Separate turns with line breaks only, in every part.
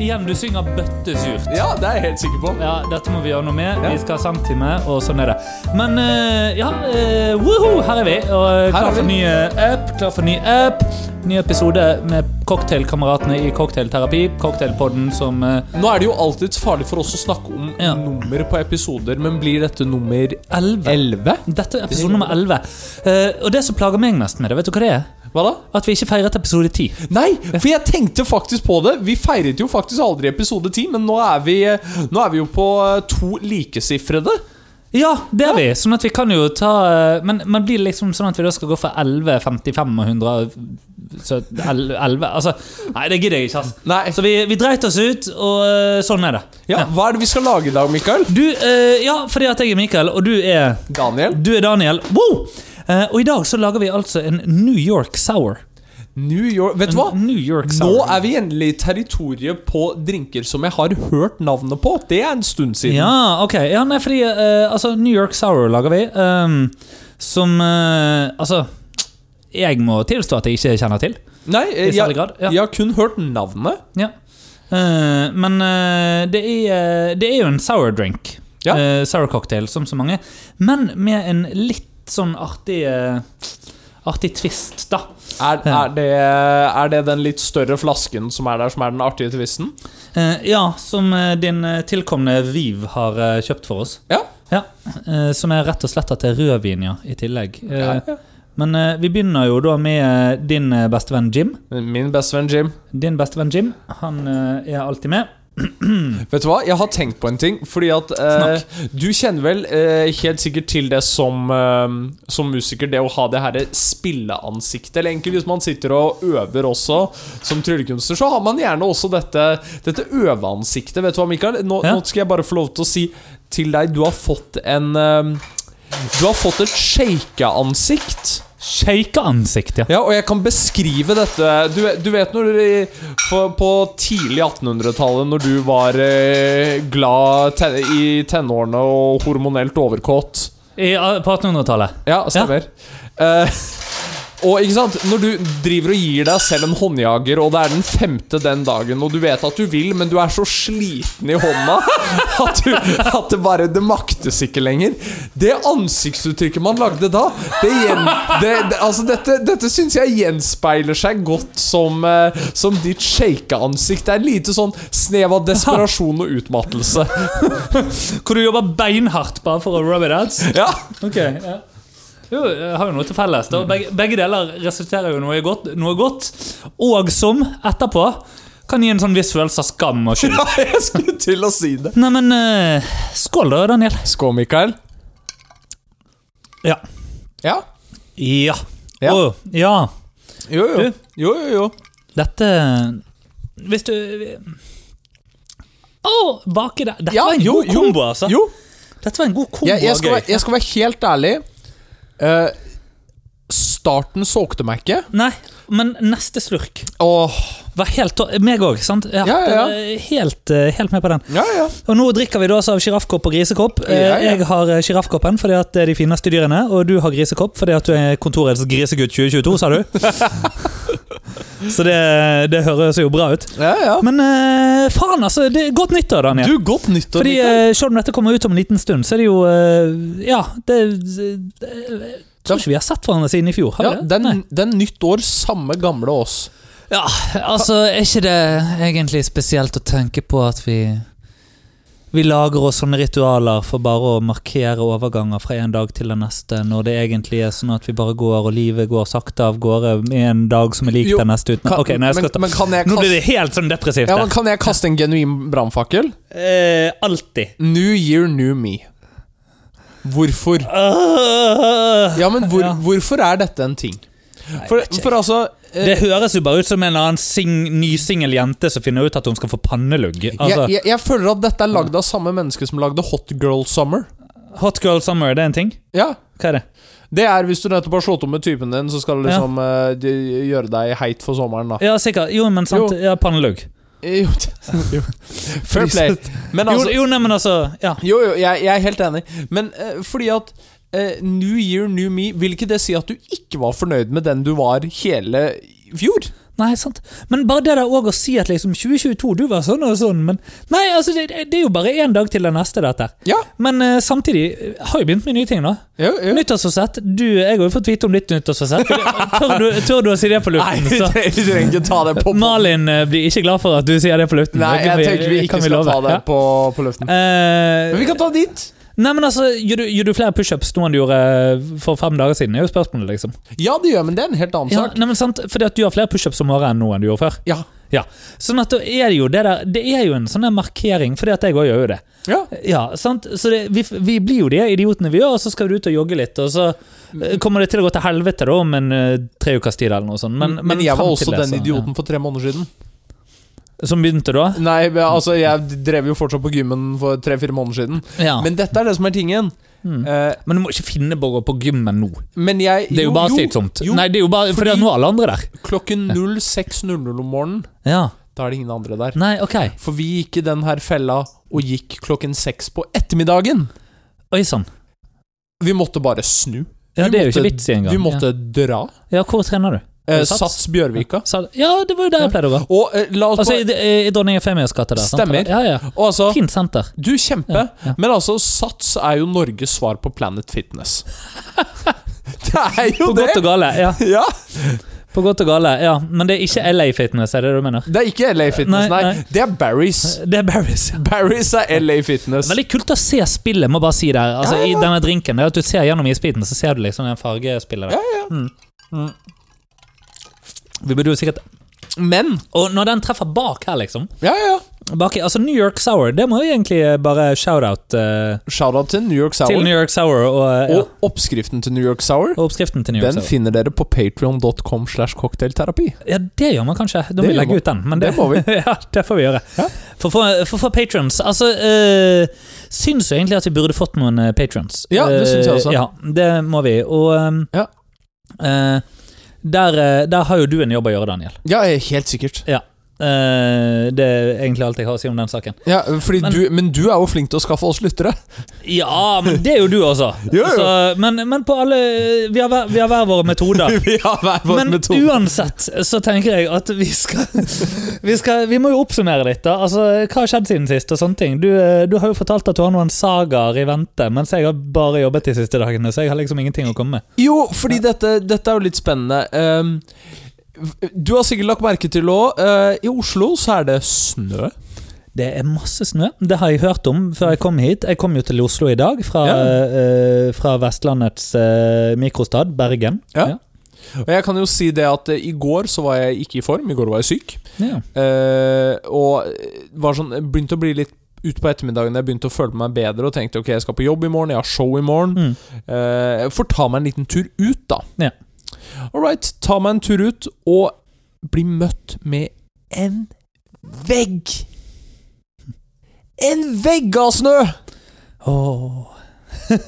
igjen, du synger bøttesurt.
Ja, det er jeg helt sikker på.
Ja, dette må vi gjøre noe med.
Ja.
Vi skal ha sangtime, og sånn er det. Men eh, ja, eh, woho, her er vi. Og eh,
Her er
klar for
vi.
ny eh, app. Klar for ny app. Ny episode med cocktailkameratene i cocktailterapi. Cocktailpodden som eh,
Nå er det jo alltid farlig for oss å snakke om
Ja.
nummer på episoder, men blir dette nummer
11.
11?
Dette er episode nummer 11. Eh, og det som plager meg mest med det, vet du hva det er?
Hva da?
At vi ikke feiret episode 10.
Nei, for jeg tenkte faktisk på det. Vi feiret jo faktisk aldri episode 10, men nå er vi, nå er vi jo på eh, to likesifrede.
Ja, det er vi. Sånn at vi kan jo ta eh, Men, men blir det liksom sånn at vi da skal gå for 11, 55 og 100 så 11 Altså, nei, det gidder jeg ikke, altså.
Nei,
Så vi, vi dreit oss ut, og eh, sånn er det.
ja, Hva er det vi skal lage i dag, Mikael?
Du, eh, ja, fordi at jeg er Mikael, og du er,
Daniel?
du er Daniel. Wow! Eh, og i dag så lager vi altså en New York Sour.
New York Vet du hva?
En New York
Nå
Sour.
er vi endelig i territoriet på drinker som jeg har hørt navnet på. Det er en stund siden.
Ja, ok. Ja, nei, fordi eh, altså, New York Sour lager vi, ehm, som eh, Altså, jeg må tilstå at jeg ikke kjenner til.
Nei, eh,
I særlig
jeg,
grad. Ja.
jeg har kun hørt navnet.
ja. Eh, men eh, det, er, eh, det er jo en sour drink.
Ja.
Eh, sour cocktail, som så mange. Men med en litt sånn artig eh, Artig twist, da.
Er,
Ja.
er, det, er det den litt større flasken som er der, som er den artige tvisten?
Eh, ja, som eh, din eh, tilkomne Viv har eh, kjøpt for oss.
Ja.
Eh, som er rett og slett at det er rødvin, ja, i tillegg. Eh,
Ja, ja.
Men eh, vi begynner jo da med eh, din eh, bestevenn Jim.
Min bestevenn Jim.
Din bestevenn Jim, han eh, er alltid med.
Vet du hva, jeg har tenkt på en ting. Fordi at eh, du kjenner vel eh, helt sikkert til det som, eh, som musiker, det å ha det herre spilleansiktet. Eller egentlig hvis man sitter og øver også som tryllekunstner, så har man gjerne også dette, dette øveansiktet. Vet du hva, Mikael? Nå,
Ja.
nå skal jeg bare få lov til å si til deg du har fått en eh, Du har fått et shake-ansikt.
Shaker-ansikt, ja.
Ja, og jeg kan beskrive dette Du, du vet når du i- på, på tidlig 1800-tallet Når du var eh, glad te i tenårene og hormonelt overkått
I, eh, på 1800-tallet.
Ja, stemmer Eh, Og ikke sant, når du driver og gir deg selv en håndjager Og det er den femte den dagen Og du vet at du vil, men du er så sliten i hånda At, du, at det bare, det maktes ikke lenger Det ansiktsuttrykket man lagde da Det, gjen, det, det altså dette, dette synes jeg gjenspeiler seg godt Som, eh, som ditt shake-ansikt Det er lite sånn snev av desperasjon og utmattelse
Hvor du jobber beinhardt bare for å rub it out.
Ja,
Ok, ja. Jo, jeg har jo noe til felles. Da. Begge, begge deler resulterer jo i noe godt, noe godt, og som etterpå kan gi en sånn viss følelse av skam og skyld.
ja jeg skulle til å si det
Neimen, uh, skål da, Daniel.
Skål, Mikael
Ja.
Ja
Ja.
Ja.
Å, ja.
Jo, jo.
Du?
jo, jo, jo.
Dette Hvis du Å, baki der. Dette
Ja,
var en
jo,
god
jo,
kombo, altså.
jo.
Dette var en god kombo.
Jeg, jeg, skal,
og
være,
gøy.
jeg skal være helt ærlig. Eh, starten solgte meg ikke.
Nei, men neste slurk
Åh,
var helt tå- Meg òg, sant? Ja,
Ja, ja, ja.
eh, Helt, eh, helt med på den.
ja, ja.
Og nå drikker vi da altså av sjiraffkopp og grisekopp. Eh,
Ja, ja.
Jeg har eh, sjiraffkoppen fordi at det er de fineste dyrene, og du har grisekopp fordi at du er kontorets grisegutt 2022, sa du. Så det, det høres jo bra ut.
ja, ja.
Men eh, faen, altså. Det, godt nyttår, Daniel.
Du, godt nyttår.
Fordi
Mikael.
eh, Selv om dette kommer ut om en liten stund, så er det jo eh, Ja, det, det, Jeg tror ikke vi har sett hverandre siden i fjor. Har
ja,
vi det?
det, er,
Nei.
n- det er nytt år, samme gamle oss.
ja, altså Er ikke det egentlig spesielt å tenke på at vi vi lager oss sånne ritualer for bare å markere overganger fra en dag til den neste, når det egentlig er sånn at vi bare går, og livet går sakte av gårde med en dag som er lik
Jo,
den neste uten
kan-
Ok, nei, jeg skal
men- men kan jeg
ta Nå
kaste-
blir det helt sånn depressivt.
Ja,
her.
men Kan jeg kaste en genuin brannfakkel?
eh, alltid.
New year, new me. Hvorfor?
Øh.
Ja, men hvor,
Ja.
hvorfor er dette en ting? For,
vet ikke.
for altså eh,
Det høres jo bare ut som en eller annen sing, nysingel jente som finner ut at hun skal få pannelugg. Altså,
jeg, jeg, jeg føler at dette er lagd av samme menneske som lagde Hot Girl Summer.
Hot girl summer, det er en ting?
Ja,
Hva er det?
Det er hvis du nettopp har slått om med typen din, så skal det liksom eh, de- gjøre deg heit for sommeren, da.
Ja, sikkert. Jo, men sant.
Jo.
Ja, pannelugg.
Eh, Jo, det- jo. Fair play. Men
Jo,
altså
jo, nei, men altså Ja.
Jo, jo, jeg, jeg er helt enig. Men eh, fordi at eh, New year, new me, vil ikke det si at du ikke var fornøyd med den du var hele i fjor?
Nei, sant. Men bare det der òg å si at liksom 2022, du var sånn og sånn, men Nei, altså, det, det er jo bare én dag til den neste, dette.
Ja.
Men eh, samtidig eh, har jeg begynt med nye ting, da.
Jo, jo.
Nyttårsforsett. Du, jeg har jo fått vite om ditt nyttårsforsett. Tør du, tør du å si det på
Nei,
luften?
vi
Så.
trenger, vi trenger ikke ta det på
Malin eh, blir ikke glad for at du sier det på luften.
Nei,
Det kan
jeg tenker vi ikke
kan
skal
love.
ta det
Ja.
på, på luften.
Eh,
Men vi kan ta ditt.
Nei, men altså, Gjør du, gjør du flere pushups nå enn du gjorde eh, for fem dager siden? er jo spørsmålet, liksom.
Ja, det gjør men det er en helt annen
Ja,
sak.
nei, men sant, Fordi at du har flere pushups om året enn nå enn du gjorde før.
Ja.
Sånn at da er det jo det der Det er jo en sånn der markering, fordi at jeg òg gjør jo det.
ja.
Ja, sant? Så det, vi, vi blir jo de idiotene vi gjør, og så skal du ut og jogge litt, og så eh, kommer det til å gå til helvete da om en eh, tre ukers tid eller noe sånt. Men,
Men, jeg var
frem
også
til det,
den
så,
idioten for tre måneder siden.
Ja. Som begynte da?
Nei, men altså, jeg drev jo fortsatt på gymmen for tre-fire måneder siden.
Ja. Men,
Men dette er det som er tingen.
mm.
Eh,
men du må ikke finne på å gå på gymmen nå.
men jeg
Det er jo, bare slitsomt.
jo,
Nei, det er jo bare fordi
fordi-
at nå er alle andre der.
Klokken 06.00 om morgenen,
Ja.
da er det ingen andre der.
Nei, ok.
For vi gikk i den her fella og gikk klokken seks på ettermiddagen.
Oi sann.
Vi måtte bare snu.
Ja,
Vi
det er jo
måtte-
ikke vits i engang.
Vi måtte dra.
Ja. ja, hvor trener du?
Eh,
Sats?
Sats Bjørvika.
Sa- Ja, det var jo der jeg pleide å gå.
Og eh, la oss
Altså, i,
bare-
i- i Dronning Eufemias gate der. sant?
Stemmer.
Ja, ja.
og altså,
Fint senter.
Du, kjempe.
Ja, ja.
Men altså, Sats er jo Norges svar på Planet Fitness. det er
På
jo det!
godt og gale, ja.
Ja,
På godt og gale, ja. Men det er ikke LA Fitness, er det du mener?
Det er ikke LA Fitness,
Nei,
nei.
nei.
Det er Barry's.
Det er Barry's, ja.
Barry's er LA Fitness.
Veldig kult å se spillet, må bare si det. her. Altså, I denne drinken. Det er at du ser gjennom isbiten, så ser du liksom den fargespillet der. Mm.
Mm.
Vi burde jo sikkert
Men
Og når den treffer bak her, liksom
Ja, ja.
bak, i- Altså New York Sour, det må jo egentlig bare shout-out eh,
Shout-out til New York Sour.
til New York Sour og, eh, ja,
Og oppskriften til New York Sour
og oppskriften til New York
den
Sour.
finner dere på patreon.com slash cocktailterapi.
Ja, det gjør man kanskje. Da må
Det
vi
gjør man.
legge ut den. Men det,
Det må vi.
ja, det får vi gjøre.
Ja.
For å få- for å få patrons Altså, øh, syns jo egentlig at vi burde fått noen øh, patrons.
Ja, det
Eh,
syns jeg også.
Ja, det må vi. Og ehm,
Ja.
eh, der, eh, der har jo du en jobb å gjøre, Daniel.
Ja, helt sikkert.
Eh, det er egentlig alt jeg har å si om den saken.
Ja, fordi
Men-
men, du, men du er jo flink til å skaffe oss lyttere.
Ja, men det er jo du også.
Jo, jo.
Så, men, men på alle Vi har hver, vi har hver våre metoder.
Vi har hver vår
Men
metode.
uansett så tenker jeg at vi skal, vi skal Vi må jo oppsummere litt. da Altså, Hva har skjedd siden sist? og sånne ting Du, eh, du har jo fortalt at du har noen sagaer i vente, mens jeg har bare jobbet de siste dagene. Så jeg har liksom ingenting å komme med.
Jo, fordi dette, dette er jo litt spennende. Ehm, du har sikkert lagt merke til òg, i Oslo så er det snø.
Det er masse snø. Det har jeg hørt om før jeg kom hit. Jeg kom jo til Oslo i dag fra,
Ja.
eh, fra Vestlandets eh, mikrostad, Bergen.
Ja. Og jeg kan jo si det at eh, i går så var jeg ikke i form, i går var jeg syk.
Ja.
Eh, og var sånn, begynte å bli litt ut på ettermiddagen Jeg begynte å føle meg bedre og tenkte ok, jeg skal på jobb i morgen, jeg har show i morgen.
Mm.
Eh, jeg får ta meg en liten tur ut, da.
Ja.
All right, ta meg en tur ut og bli møtt med en vegg! En vegg av snø!
Åh.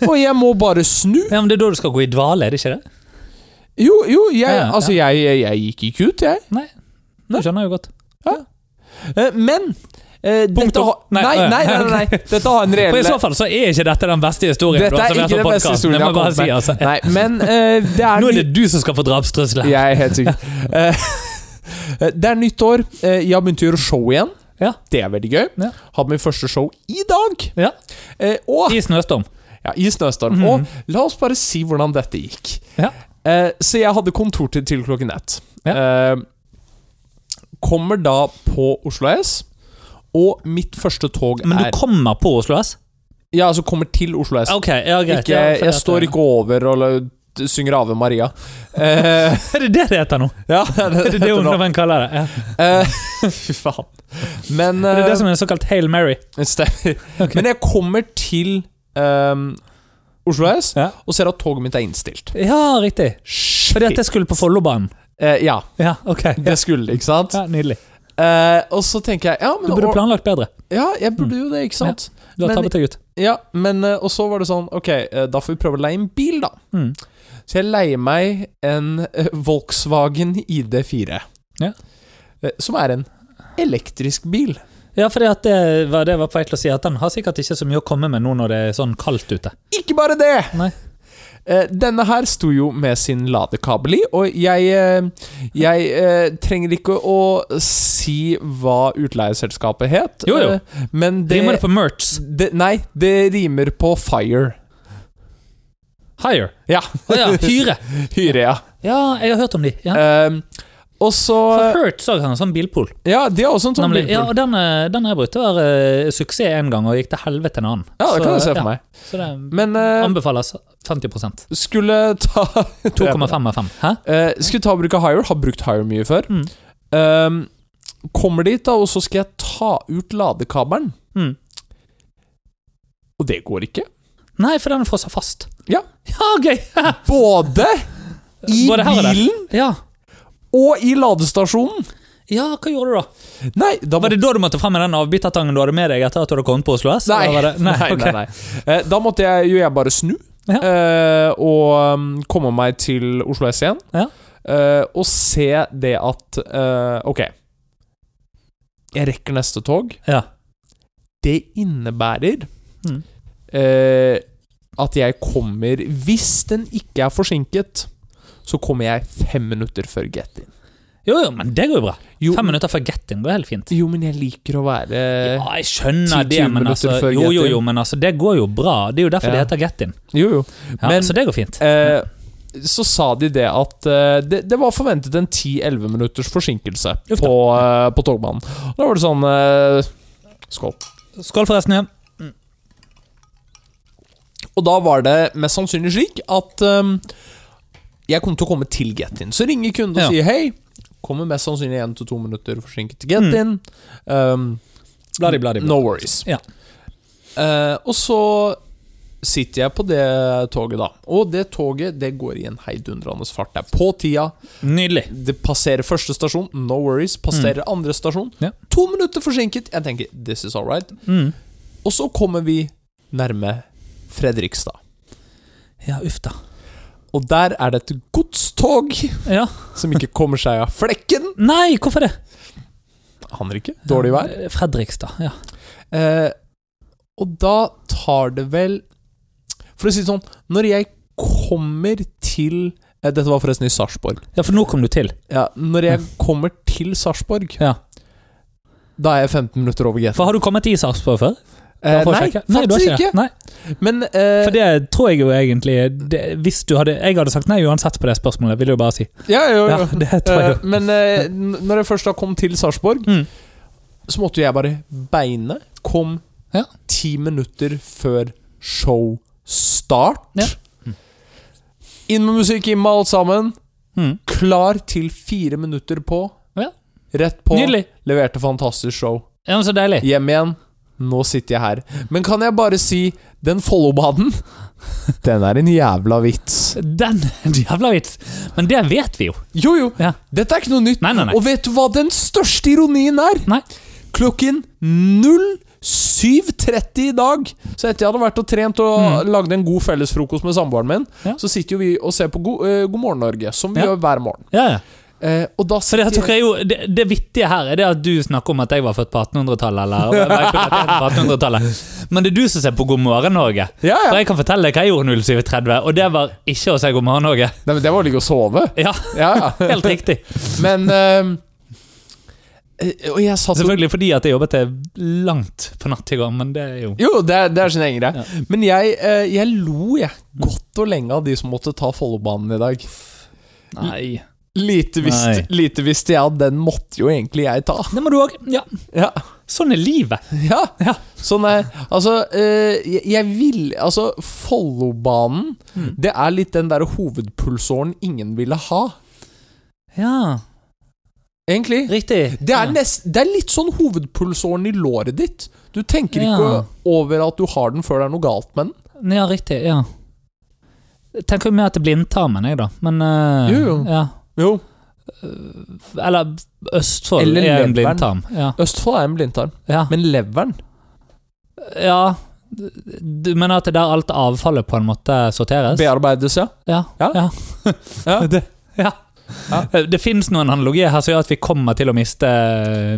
Og jeg må bare snu.
ja, men Det er da du skal gå i dvale, er det ikke det?
Jo, jo, jeg,
Ja, ja,
altså, jeg, jeg, jeg gikk ikke ut, jeg.
Nei. Du skjønner jo godt.
Eh, men eh, dette
om.
har
Nei,
nei, nei,
å ja.
nei, nei, nei. Dette har en
For I
reell
så fall så er ikke dette den beste historien.
Dette
du har
er
servert
ikke
på
den beste
podcasten.
historien
Det må
jeg har
bare si,
kommet
altså.
Nei, men eh, det er
Nå er det
nytt-
du som skal få drapstrusler.
Jeg er helt sikker. Eh, det er nytt år. Eh, jeg har begynt å gjøre show igjen.
Ja.
Det er veldig gøy.
Ja.
Hadde mitt første show i dag.
Ja.
Eh, og
I snøstorm.
ja, i snøstorm. Og la oss bare si hvordan dette gikk.
Ja.
Eh, så jeg hadde kontortid til klokken ett. Eh, kommer da på Oslo S, og mitt første tog
Men du
er
kommer på Oslo S?
Ja, altså kommer til Oslo S.
Ok, ja, greit.
ikke,
ja, for
jeg
at-
står ikke over og la- synger Ave Maria. Eh,
Er det det det heter nå?
ja,
Er det det ungdommen kaller det? Ja.
Eh, Fy faen. Men
Er det
eh,
det som er såkalt Hail Mary?
stemmer.
Ok.
Men jeg kommer til ehm, Oslo S
Ja,
og ser at toget mitt er innstilt.
ja riktig.
Shit.
Fordi at jeg skulle på Follobanen.
Eh, ja,
Ja, ok. Ja.
det skulle, ikke sant?
Ja, nydelig.
Eh, og så tenker jeg ja, men,
Du burde Mm.
og,
planlagt bedre.
ja, jeg burde jo det, ikke sant?
Du har
Men-
tabbet deg ut.
Ja, men eh, Og så var det sånn Ok, eh, da får vi prøve å leie en bil, da.
Mm.
Så jeg leier meg en eh, Volkswagen ID4.
Ja.
Eh, som er en elektrisk bil.
Ja, fordi at det var det jeg var på vei til å si, at den har sikkert ikke så mye å komme med nå når det er sånn kaldt ute.
Ikke bare det!
Nei.
Eh, Denne her sto jo med sin ladekabel i, og jeg, eh, jeg eh, trenger ikke å si hva utleieselskapet het.
Jo, jo.
eh, Men det,
Rimer det på merch?
det Nei, det rimer på fire.
Hire.
Ja.
Å ja, hyre.
Hyre, ja.
Ja, jeg har hørt om de. Ja.
Eh, og så
For Hertz òg har en sånn bilpool.
Ja, de har også en sånn
Nemlig, ja,
bilpool.
og den, eh, den har jeg brukt. Det var eh, suksess én gang, og gikk til helvete en annen.
Ja, det kan jeg
Så,
se for
ja,
meg.
Så det
Men eh,
anbefales 50
skulle ta
2,5 av 5. Hæ?
Eh, skulle ta og bruke Hire. Har brukt Hire mye før.
Mm.
Ehm, kommer dit, da, og så skal jeg ta ut ladekabelen.
Mm.
Og det går ikke.
Nei, for den frosset fast.
Ja.
Ja, gøy!
Både i
Både her og der.
bilen
Ja.
og i ladestasjonen.
ja, hva gjorde du da?
Nei, da
Var
måtte
det da du måtte frem med den avbitertangen du hadde med deg etter at du hadde kommet på Oslo S?
Nei,
Eller var det-
nei,
ok.
nei, nei. Eh, Da måtte jeg, jo jeg bare snu
Ja.
eh, og um, komme meg til Oslo S igjen.
Ja.
eh, og se det at eh, Ok, jeg rekker neste tog.
Ja.
Det innebærer
Mm.
eh, at jeg kommer Hvis den ikke er forsinket, så kommer jeg fem minutter før get-in.
Jo, jo, men det går jo bra.
Jo,
Fem minutter før get-in går helt fint.
jo, men jeg liker å være
Ja, jeg skjønner
10-20
det, men altså,
Eh, minutter før
jo, jo,
get-in.
jo, men altså, det går jo bra. Det er jo derfor
Ja.
det heter get-in.
Jo, jo.
Ja,
Men-
så det går fint.
Eh, så sa de det at eh, det, det var forventet en 10-11 minutters forsinkelse
Uff da.
på, eh, på togbanen. Da var det sånn eh, Skål.
Skål, forresten. Ja.
Og da var det mest sannsynlig slik at eh, jeg kom til å komme til Get-In. Så ringer kunden og
Ja.
sier hei. Kommer mest sannsynlig 1-2 minutter forsinket til Get-In. Um,
Bladi, bladi, bladi.
No worries.
Ja.
Eh, og så sitter jeg på det toget, da. Og det toget det går i en heidundrende fart. Det er på tida.
Nydelig.
Det passerer første stasjon, no worries. Passerer andre stasjon.
Mm. Ja.
To minutter forsinket. Jeg tenker this is all right.
Mm.
Og så kommer vi nærme Fredrikstad.
Ja, uff da.
Og der er det et godstog
Ja.
som ikke kommer seg av flekken.
Nei, hvorfor det?
Aner ikke. Dårlig vær.
Fredrikstad, ja.
Eh, og da tar det vel For å si det sånn, når jeg kommer til eh, Dette var forresten i Sarpsborg.
Ja, for nå kom du til.
Ja, når jeg kommer til Sarpsborg,
Ja.
da er jeg 15 minutter over GT.
For har du kommet i Sarpsborg før?
Eh,
Bare for å
nei,
sjekke.
faktisk
du har
ikke.
Nei.
Men eh,
For det tror jeg jo egentlig det, Hvis du hadde Jeg hadde sagt nei uansett på det spørsmålet, vil jeg jo bare si.
Ja, jo, jo.
Ja, det tror jeg
Eh, men eh, n- når jeg først da kom til Sarpsborg,
Mm.
så måtte jeg bare beine. Kom
Ja.
ti minutter før showstart.
Ja.
Inn med musikk, inn med alt sammen. Hmm.
Mm.
Klar til fire minutter på.
Ja.
Rett på.
Nydelig.
Leverte fantastisk show.
Ja, men Så deilig.
Hjem igjen. Nå sitter jeg her. Men kan jeg bare si den Follobanen? Den er en jævla vits.
Den jævla vits! Men det vet vi jo.
Jo, jo.
Ja.
Dette er ikke noe nytt.
Nei, nei, nei.
Og vet du hva den største ironien er?
Nei.
Klokken 07.30 i dag, så etter jeg hadde vært og trent og lagde en god fellesfrokost med samboeren min,
Mm. Ja.
så sitter jo vi og ser på God, eh, god morgen Norge, som vi
Ja.
gjør hver morgen.
Ja, ja.
Eh, og da
For det,
sitter
at dere er jo, det, det vittige her er det at du snakker om at jeg var født på 1800-tallet. eller- og jeg var ikke født på 1800-tallet. Men det er du som ser på God morgen Norge.
Ja,
For
ja.
jeg kan fortelle deg hva jeg gjorde 07.30, og det var ikke å si God morgen Norge.
Nei, men det var å ligge og sove.
Ja,
Ja, ja.
Helt riktig.
Men eh, eh, Og jeg satt og
Selvfølgelig fordi at jeg jobbet til langt på natt i går, men det er jo
Jo, det er, det er sin egen greie. Men jeg, eh, jeg lo jeg godt og lenge av de som måtte ta Follobanen i dag.
Nei.
Lite
Nei.
visste lite visste jeg at den måtte jo egentlig jeg ta.
Det må du òg. Ja.
Ja,
Sånn er livet.
ja.
Ja.
Sånn er Altså, eh, jeg, jeg vil Altså, Follobanen, det er litt den der hovedpulsåren ingen ville ha,
Ja,
egentlig.
riktig.
Det er, nest, det er litt sånn hovedpulsåren i låret ditt. Du tenker ikke
Ja.
over at du har den før det er noe galt med den.
ja. ja, riktig. Ja. Jeg tenker jo mer til blindtarmen, jeg, da. Men eh,
Jo, jo.
Ja.
Jo,
Eller Østfold
Eller
er
leveren.
en blindtarm. Ja.
Østfold er en blindtarm,
Ja.
men leveren
ja. Du mener at det er der alt avfallet på en måte sorteres?
bearbeides, ja.
Ja.
Ja.
ja.
Ja.
Det, ja. det fins noen analogier her som gjør at vi kommer til å miste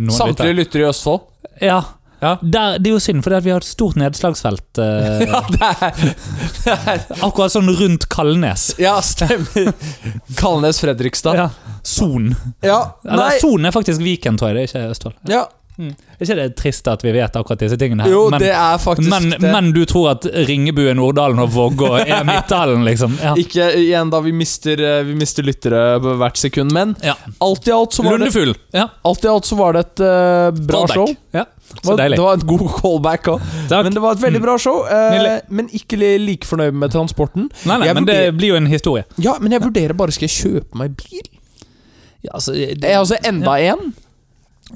noen
Samtlige lyttere i Østfold.
lytter. Ja.
Ja.
Der, det er jo synd, for vi har et stort nedslagsfelt. eh,
Det er, det er,
Akkurat sånn rundt Kalnes.
ja, stemmer. Kalnes Fredrikstad.
Ja. Son.
Ja,
Eller
nei
Son er faktisk Viken, tror jeg. Det er ikke Østfold.
ja.
Er ikke det trist at vi vet akkurat disse tingene her?
Jo,
men,
det er faktisk
men,
det.
men du tror at Ringebu er Norddalen og Vågå er Midtdalen, liksom? Ja.
Ikke igjen, da. Vi mister, eh, vi mister lyttere på hvert sekund. Men
Ja.
alt i alt så var det,
Lundefugl. Ja.
alt i alt så var det et eh, bra
Callback.
show.
Ja.
Det
Så
var-
deilig.
Det var et god callback òg.
Takk. Mm.
Men det var et veldig bra show. Eh,
Nydelig.
men ikke li- like fornøyd med transporten.
Nei, nei,
Jeg
men det
vurderer-
blir jo en historie.
Ja, men jeg vurderer bare skal jeg kjøpe meg bil.
Ja, altså,
Det er altså enda en.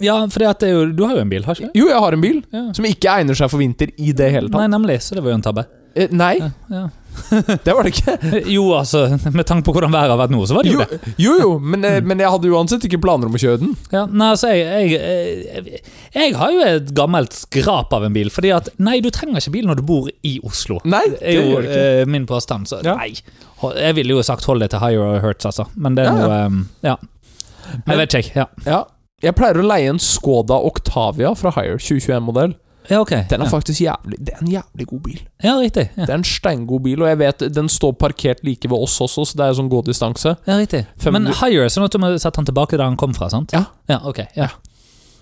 ja for det er jo, du har jo en bil, har ikke du?
Jo, jeg har en bil
Ja.
som ikke egner seg for vinter i det hele tatt.
Nei, nemlig. Så det var jo en tabbe.
Eh, nei,
Ja, ja.
det var det ikke.
Jo, altså, med tanke på hvordan været har vært nå, så var det jo
Jo,
det.
jo, jo men, eh, men jeg hadde uansett ikke planer om å kjøre den.
Ja, nei, altså, jeg, jeg, jeg, jeg har jo et gammelt skrap av en bil. Fordi at Nei, du trenger ikke bil når du bor i Oslo.
Nei,
Det er jo
gjør det ikke.
eh, min påstand. Så
Ja.
nei. Hold- Jeg ville jo sagt hold det til higher hertz, altså. Men det er
Ja, ja.
noe ehm, Ja.
Men-
Jeg vet ikke. Ja,
Ja. Jeg pleier å leie en Skoda Octavia fra Hire 2021-modell.
ja ok.
Den er
ja.
faktisk jævlig Det er en jævlig god bil.
ja, riktig. Ja.
Det er en steingod bil, og jeg vet den står parkert like ved oss også, så det er jo sånn god distanse.
ja, riktig.
Fem-
Men higher er sånn at du må sette den tilbake der den kom fra, sant?
Ja.
ja ok. Ja.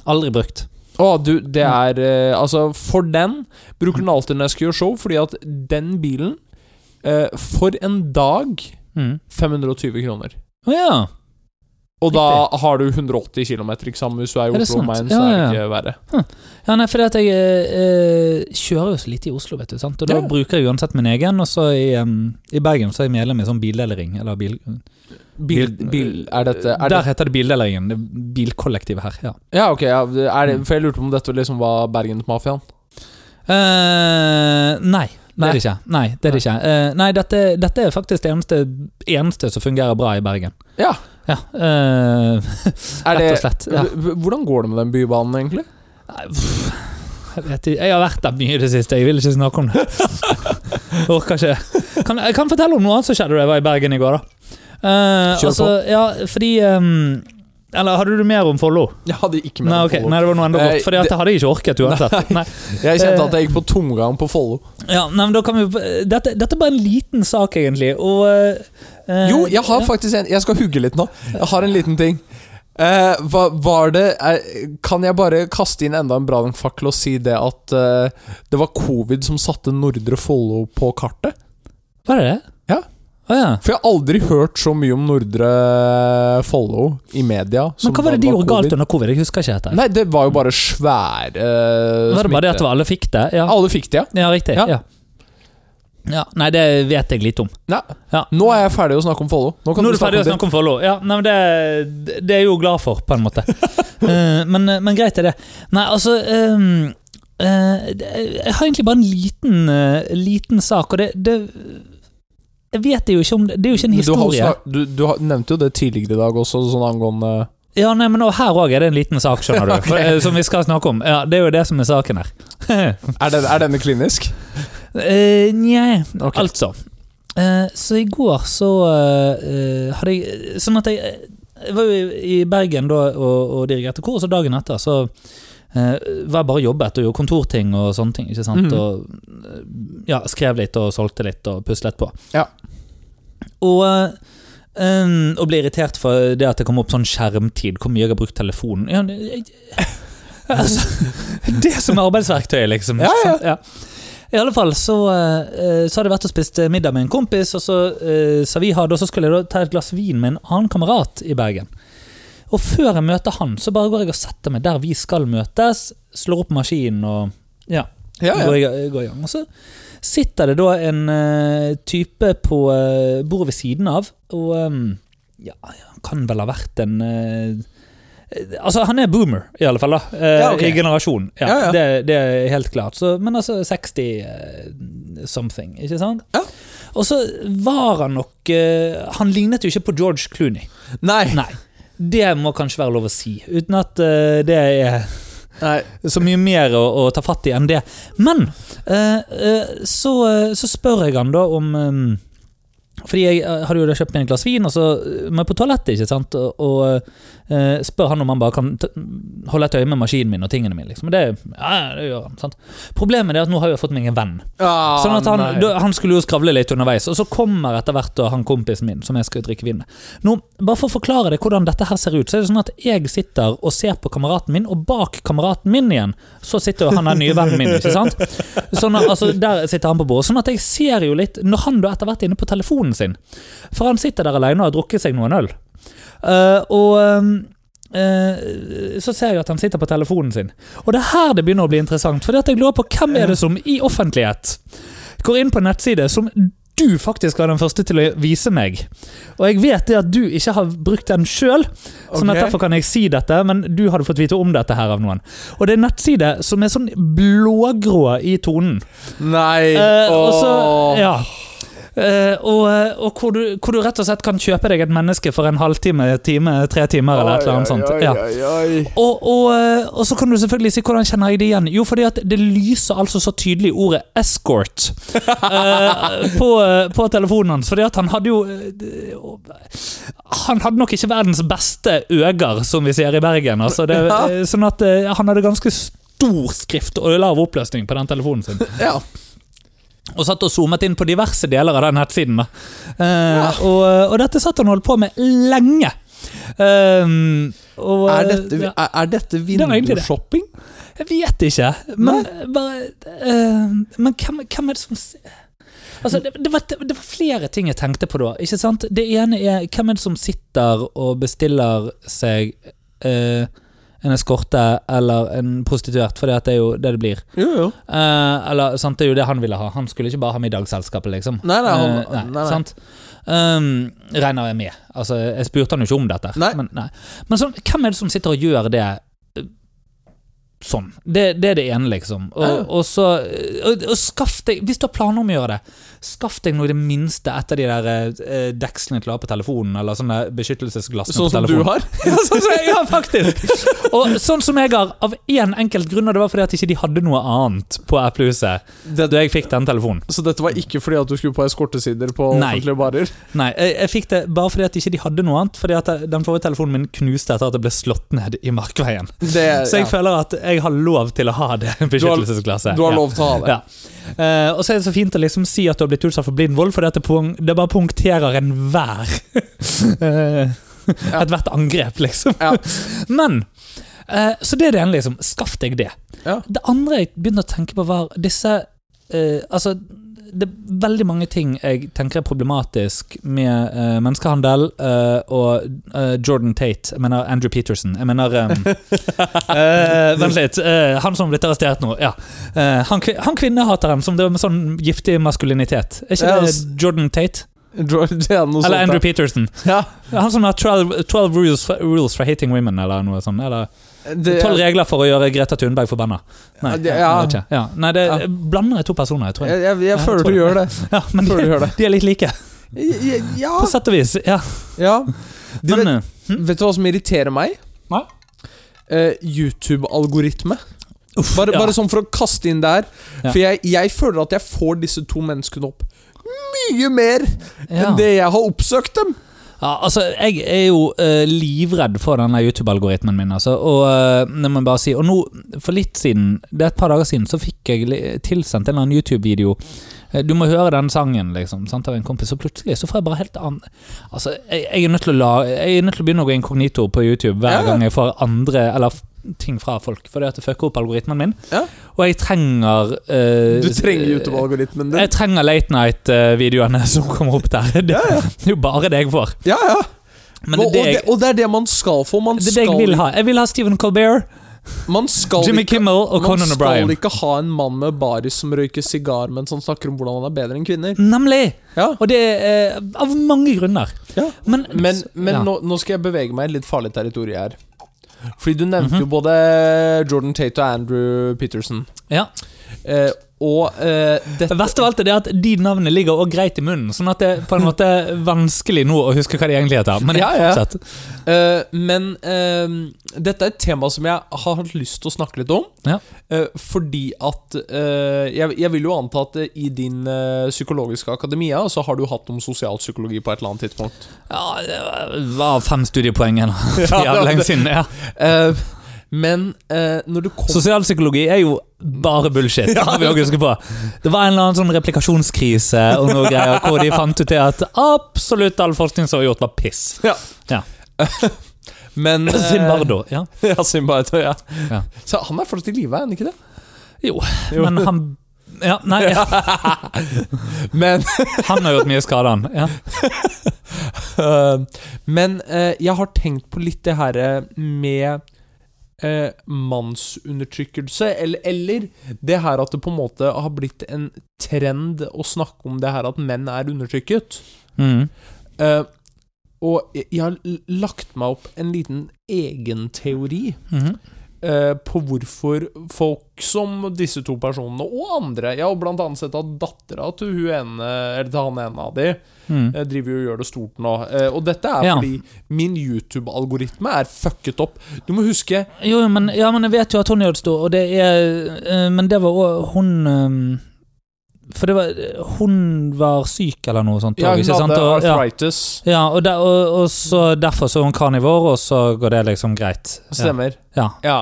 Aldri brukt.
Å, du, det er eh, Altså, for den bruker den alltid når jeg skal gjøre show, fordi at den bilen eh, For en dag
Mm.
520 kroner.
Å ja.
Og da har du 180 km eksamen hvis du er
Er
i
det
Oslo
sant?
og meg,
Ja,
så er det
ja,
ikke verre.
Ja, nei, fordi at jeg eh, kjører jo så lite i Oslo, vet du. sant? Og da
Ja.
bruker jeg uansett min egen. Og så i, em, i Bergen så er jeg medlem i sånn bildelering. Eller bil,
Bil, bil Er dette
Der
er det,
heter det bildeleringen. Det er bilkollektivet her. ja.
Ja, ok, ja, er det, for jeg lurte på om dette liksom var Bergensmafiaen.
Eh, nei. Det
Nei.
er det ikke. Nei, det er det ikke. Eh, nei dette, dette er faktisk det eneste, eneste som fungerer bra i Bergen.
Ja.
Ja, eh,
Er
Rett og
det-
slett, ja.
H- Hvordan går det med den bybanen, egentlig?
Nei, pff, Jeg, vet ikke. jeg har vært der mye i det siste, jeg vil ikke snakke om det. Jeg Orker ikke. Kan, jeg kan fortelle om noe annet som skjedde da jeg var i Bergen i går. da. Eh,
Kjør på.
altså, ja, fordi ehm, Eller hadde du mer om Follo?
Jeg hadde ikke med
Nei,
meg
ok,
Follo.
nei, det var noe enda godt,
Eh,
for det hadde jeg ikke orket uansett. Nei.
Jeg kjente
Eh.
at jeg gikk på tomgang på Follo.
Ja, nei, men da kan vi Dette, dette er bare en liten sak, egentlig, og eh,
Jo, jeg har
ja.
faktisk en Jeg skal hugge litt nå. Jeg har en liten ting. Eh, hva, var det eh, Kan jeg bare kaste inn enda en brannfakkel og si det at eh, det var covid som satte Nordre Follo på kartet?
Var det det?
Ja.
Å ja.
For jeg har aldri hørt så mye om Nordre Follo i media. som
Men hva var
da
det de gjorde
covid.
galt under covid? Jeg husker ikke dette.
Nei, det var jo bare svær eh,
var det bare det at
smitte.
det var alle fikk det? Ja,
Alle fikk det, ja.
ja riktig. Ja.
Ja.
Ja. Nei, det vet jeg lite om.
Nei.
Ja.
Nå er jeg ferdig å snakke om Follo. Nå kan
Nå
du
er du ferdig å
snakke
snakke
om
om Follo. Ja, nei, men det, det er jeg jo glad for, på en måte. Eh, men, men greit er det. Nei, altså ehm, eh, det- Jeg har egentlig bare en liten, eh, liten sak, og det, det Jeg vet jo ikke om det Det er jo ikke en
Men Du, har, jo
historie.
snak- du, du har, nevnte jo det tidligere i dag også, sånn angående
Ja, nei, men nå, Her òg er det en liten sak, skjønner du. for, eh, som vi skal snakke om. Ja, Det er jo det som er saken her.
Er, den, er denne klinisk?
Eh, Nja,
Ok.
altså. Eh, så i går så eh, hadde jeg Sånn at jeg eh, jeg var jo i- i Bergen da og, og dirigerte kor, så dagen etter så eh, var jeg bare og jobbet og gjorde kontorting og sånne ting. ikke sant?
Mhm.
Og eh, ja, skrev litt og solgte litt og puslet på.
Ja.
Og, eh, em, og ble irritert for det at det kom opp sånn skjermtid, hvor mye jeg har brukt telefonen. Ja, det- jeg, altså, det som er arbeidsverktøy, liksom.
Ja, ja.
sant? I alle fall så, eh, så hadde jeg vært og spist middag med en kompis, og så eh, sa vi ha det, og så skulle jeg da ta et glass vin med en annen kamerat i Bergen. Og før jeg møter han, så bare går jeg og setter meg der vi skal møtes, slår opp maskinen og ja,
Ja, ja.
Går, i, går i gang. Og så sitter det da en eh, type på eh, bordet ved siden av, og eh, ja, han kan vel ha vært en eh, eh, Altså, han er boomer, i alle fall, da. eh,
Ja, ok.
I generasjon. Ja,
Ja, ja.
Det, det er helt klart. Så, men altså 60 eh, something, ikke sant?
Ja.
Og så var han nok eh, Han lignet jo ikke på George Clooney.
Nei.
Nei. Det må kanskje være lov å si, uten at eh, det er
Nei.
så mye mer å, å ta fatt i enn det. Men eh, eh, så, eh, så spør jeg han da om eh, Fordi jeg eh, hadde jo da kjøpt meg et glass vin, og så eh, må jeg på toalettet, ikke sant? Og, og eh, spør han om han bare kan t holde et øye med maskinen min og tingene mine, liksom. Og det, ja, det gjør han, sant? Problemet er at nå har jeg fått meg en venn.
Ah,
Sånn at han,
nei.
da, han skulle jo skravle litt underveis, og så kommer etter hvert da han kompisen min som jeg skal drikke vin med. Nå, bare for å forklare deg hvordan dette her ser ut, så er det sånn at jeg sitter og ser på kameraten min, og bak kameraten min igjen, så sitter jo han den nye vennen min, ikke sant? Sånn at, altså, der sitter han på bordet. Sånn at jeg ser jo litt, når han da etter hvert er inne på telefonen sin, for han sitter der alene og har drukket seg noen øl. Eh, og eh, så ser jeg at han sitter på telefonen sin. Og det er her det begynner å bli interessant. For jeg lurer på hvem er det som i offentlighet går inn på en nettside som du faktisk var den første til å vise meg. Og jeg vet det at du ikke har brukt den sjøl, sånn at
Ok.
derfor kan jeg si dette, men du hadde fått vite om dette her av noen. Og det er en nettside som er sånn blågrå i tonen.
Nei.
Eh, og så,
åh.
ja. Eh, og og hvor, du, hvor du rett og slett kan kjøpe deg et menneske for en halvtime, time, tre timer eller et eller annet
Oi,
sånt.
oi,
Ja.
oi, oi.
Og, og, eh, og så kan du selvfølgelig si hvordan kjenner jeg det igjen. Jo, fordi at det lyser altså så tydelig ordet 'escort' eh, på, eh, på telefonen hans. Fordi at han hadde jo eh, det- og- Han hadde nok ikke verdens beste øger, som vi sier i Bergen. Altså, det,
Ja.
eh, Sånn at eh, han hadde ganske stor skrift og lav oppløsning på den telefonen sin.
Ja.
Og satt og zoomet inn på diverse deler av den nettsiden. Da. Eh, og, og dette satt han og holdt på med lenge. Um, og, eh,
Er dette,
ja.
er, er dette
er egentlig det.
vindusshopping?
Jeg vet ikke, men bare eh, Men hvem, hvem er det som s- Altså, det, det, var, det var flere ting jeg tenkte på da. Ikke sant? Det ene er hvem er det som sitter og bestiller seg eh, en eskorte eller en prostituert, for det er jo det det blir.
Jo, jo.
Eh, eller sant, det er jo det han ville ha. Han skulle ikke bare ha middagsselskapet, liksom.
Nei, nei, han-
Eh, nei,
nei, nei.
Sant? Um, regner jeg med. Altså, jeg spurte han jo ikke om dette.
Nei.
Men, nei. men sånn, hvem er det som sitter og gjør det eh, sånn? Det, det er det ene, liksom. Og,
Ja.
og så og, og skaff deg, Hvis du har planer om å gjøre det, skaff deg noe i det minste etter de der eh, dekslene til å ha på telefonen, eller sånne beskyttelsesglassene
Sånn
på
som
telefonen.
du har?
Ja, sånn som jeg, ja, faktisk. Og sånn som jeg har, av én enkelt grunn, og det var fordi at ikke de hadde noe annet på Apple-huset
Det,
da jeg fikk den telefonen.
så dette var ikke fordi at du skulle på eskortesider på
Nei.
offentlige barer?
Nei, jeg, jeg fikk det bare fordi at ikke de hadde noe annet. Fordi at den forrige telefonen min knuste etter at jeg ble slått ned i Markveien.
Det,
Så jeg
ja.
føler at jeg har lov til å ha det beskyttelsesglasset.
Du har
Ja.
lov til å ha det.
Ja. Eh, og så er det så fint å liksom si at du har blitt utsatt for blind vold, fordi at det, pung- det bare punkterer enhver eh, Ethvert angrep, liksom.
Ja.
Men eh, Så det er det ene, liksom. Skaff deg det.
Ja.
Det andre jeg begynte å tenke på, var disse eh, Altså, det er veldig mange ting jeg tenker er problematisk med eh, menneskehandel eh, og eh, Jordan Tate. Jeg mener Andrew Peterson. Jeg mener eh, eh, Vent litt. eh, han som har blitt arrestert nå. Ja. Eh, han, kvin han kvinnehateren som drev med sånn giftig maskulinitet. Er ikke
Ja, altså-
det
s-
Jordan Tate?
Jordan og
Eller
sånt,
Andrew Peterson?
ja.
Han som har 12, 12 rules, for, rules for hating women, eller noe sånt. Eller
Det-
12 regler for å gjøre Greta Thunberg forbanna. Nei,
Ja,
jeg
det- ja.
vet ikke. ja. Nei det
Ja.
blander jeg to personer, jeg tror jeg.
Jeg, jeg,
Ja,
jeg
tror
føler du
jeg.
gjør det.
Ja, men
Føler du
de,
gjør det.
de er litt like,
Jeg- Ja.
på sett og vis. Ja.
ja. Du
Men,
vet,
eh,
vet du hva som irriterer meg?
Hva?
Eh, YouTube-algoritme.
uff,
Bare,
ja.
bare sånn for å kaste inn der.
Ja.
For jeg, jeg føler at jeg får disse to menneskene opp mye mer
ja.
enn det jeg har oppsøkt dem.
Ja, altså, jeg er jo eh, livredd for denne YouTube-algoritmen min, altså. Og eh, det må jeg bare si Og nå, for litt siden, det er et par dager siden, så fikk jeg li- tilsendt en eller annen YouTube-video. Eh, Du må høre den sangen, liksom, sant, av en kompis, og plutselig så får jeg bare helt annen Altså, jeg, jeg, er nødt til å la, jeg er nødt til å begynne å gå inkognito på YouTube hver
Ja.
gang jeg får andre Eller f- ting fra folk, fordi at det fucker opp algoritmen min.
Ja.
Og jeg trenger eh,
Du trenger YouTube-algoritmen din.
Jeg trenger late night-videoene som kommer opp der. Det,
Ja, ja.
det er jo bare det jeg får.
Ja, ja.
Men
og,
det, er det
og, det,
jeg-
og det er det man skal få. Man
det er det jeg
skal,
vil ha. Jeg vil ha Stephen Colbert,
Man skal
Jimmy
ikke
Kimmel og
man
Conan
skal
O'Brien.
ikke ha en mann med baris som røyker sigar mens han snakker om hvordan han er bedre enn kvinner.
Nemlig!
Ja,
Og det er eh, av mange grunner.
Ja.
Men,
Men, men
ja.
nå, nå skal jeg bevege meg i litt farlig territorium her.
Mhm.
Fordi du nevnte jo både Jordan Tate og Andrew Peterson.
Ja.
Eh, Og eh,
Det
dette
verste av alt er det at de navnene ligger også greit i munnen, sånn at det er på en måte vanskelig nå å huske hva de egentlig heter. Men
Ja, ja.
fortsett.
Eh, Men eh, dette er et tema som jeg har hatt lyst til å snakke litt om.
Ja.
Eh, fordi at eh, jeg, jeg vil jo anta at eh, i din eh, psykologiske akademia så har du hatt om sosialpsykologi på et eller annet tidspunkt.
ja, det var fem studiepoeng igjen.
Ja,
Ja,
det-
lenge siden. Ja.
Eh, men eh, når du kom
Sosialpsykologi er jo bare bullshit. Det må vi også huske på. Det var en eller annen sånn replikasjonskrise og noe greier, hvor de fant ut det at absolutt all forskning som var gjort, var piss.
men, eh,
Zimbardo. Ja.
ja, Zimbardo, ja.
Ja.
Så han er fortsatt i live, er han ikke det?
Jo,
Jo.
men han ja, Nei,
Men,
han har gjort mye skade, han. Ja.
eh, men eh, jeg har tenkt på litt det her eh, med eh, mannsundertrykkelse, eller, eller det her at det på en måte har blitt en trend å snakke om det her at menn er undertrykket.
Mm.
Eh, og jeg jeg har l- lagt meg opp en liten egen teori
Mhm.
eh, på hvorfor folk som disse to personene, og andre Jeg har blant annet sett at dattera til hun ene, eller til han ene av de,
Mm.
eh, driver jo og gjør det stort nå. Eh, og dette er
Ja.
fordi min YouTube-algoritme er fucket opp. Du må huske
Jo, men, ja, men jeg vet jo at hun gjør det stor, og det er eh, Men det var òg hun eh, For det var Hun var syk eller noe sånt. også,
Ja, hun
ikke sant?
hadde
Og- ja.
arthritis.
Ja, og, der, og, og så derfor så er hun karnivor, og så går det liksom greit. Ja.
Stemmer.
Ja.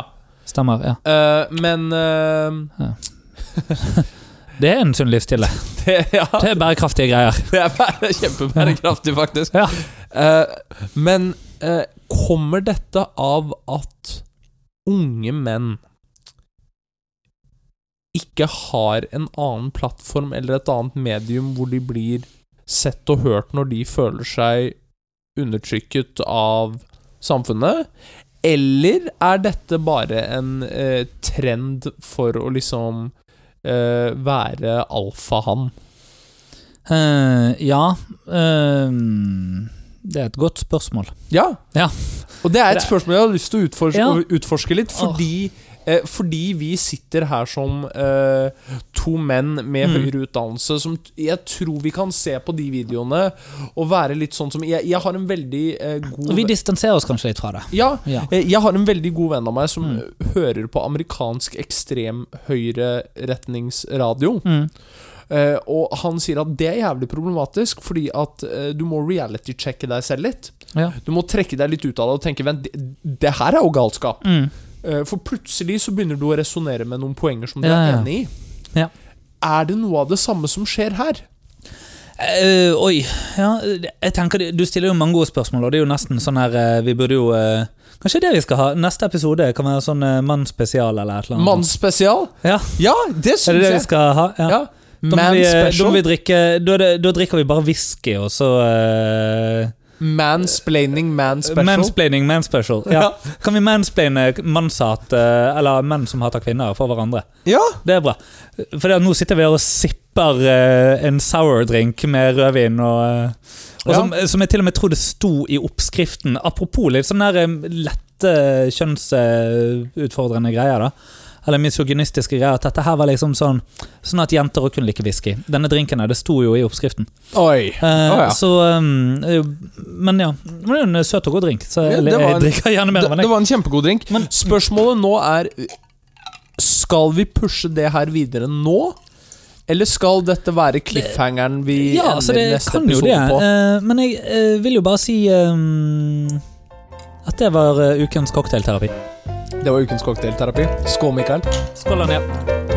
Stemmer. ja.
Eh, men eh,
Det er en sunn livsstil. det.
det, ja,
Det er bærekraftige greier.
det er bare kjempebærekraftig, faktisk.
Ja.
Eh, men eh, kommer dette av at unge menn ikke har en annen plattform eller et annet medium hvor de blir sett og hørt når de føler seg undertrykket av samfunnet? Eller er dette bare en eh, trend for å liksom eh, være alfahann?
Eh, ja ehm, Det er et godt spørsmål.
Ja.
Ja.
Og det er
Det
et
er-
spørsmål jeg har lyst til å utforske,
Ja.
å utforske litt, fordi, eh, fordi vi sitter her som eh, to menn med
Mm.
høyere utdannelse som t- jeg tror vi kan se på de videoene og være litt sånn som Jeg, jeg har en veldig eh, god
Og vi distanserer oss kanskje litt fra det.
ja,
Ja.
eh, jeg har en veldig god venn av meg som
Mm.
eh, hører på amerikansk ekstrem høyreretningsradio.
Mm.
Eh, og han sier at det er jævlig problematisk, fordi at eh, du må reality-sjekke deg selv litt.
Ja.
Du må trekke deg litt ut av det og tenke Vent, det, det her er jo galskap.
Mm.
Eh, For plutselig så begynner du å resonnere med noen poenger som du
Ja,
er
ja.
enig i.
Ja.
Er det noe av det samme som skjer her?
Eh, oi. Ja, det- jeg tenker det- Du stiller jo mange gode spørsmål, og det er jo nesten sånn her eh, Vi burde jo eh, Kanskje det vi skal ha? Neste episode kan være sånn uh, mannspesial eller et eller annet.
Mannsspesial?
Ja.
Ja, det
Er det
syns
det vi
jeg.
skal ha? Ja.
Ja.
Da, må vi, eh, da, må vi
Man-special.
drikke, da, er det- da drikker vi bare whisky, og så eh,
Mansplaining, man-special.
Mansplaining, manspecial. Ja. Kan vi mansplaine mannshat, eh, eller menn som hater kvinner, for hverandre?
Ja.
Det er bra. For det, nå sitter vi her og sipper eh, en sour drink med rødvin, og, eh, og
Ja.
som, som jeg til og med tror det sto i oppskriften. Apropos litt sånne der, eh, lette kjønnsutfordrende greier. da. Eller misogynistiske greier. At dette her var liksom sånn Sånn at jenter også kunne like whisky. Denne drinken her, det sto jo i oppskriften.
Oi.
Eh,
Å, ja.
Så um, eh, Men ja. Men det er jo en søt og god drink, så
Ja,
jeg,
det var en-
jeg drikker gjerne
Det,
mer av den.
det
jeg.
var en kjempegod drink.
Men-
Spørsmålet nå er Skal vi pushe det her videre nå? Eller skal dette være cliffhangeren vi
Ja, så
ender
det
neste
kan jo det.
episode på?
eh, men jeg eh, vil jo bare si eh, at det var eh, ukens cocktailterapi.
Det var ukens cocktailterapi. Skål, Mikael.
Skål, Anja.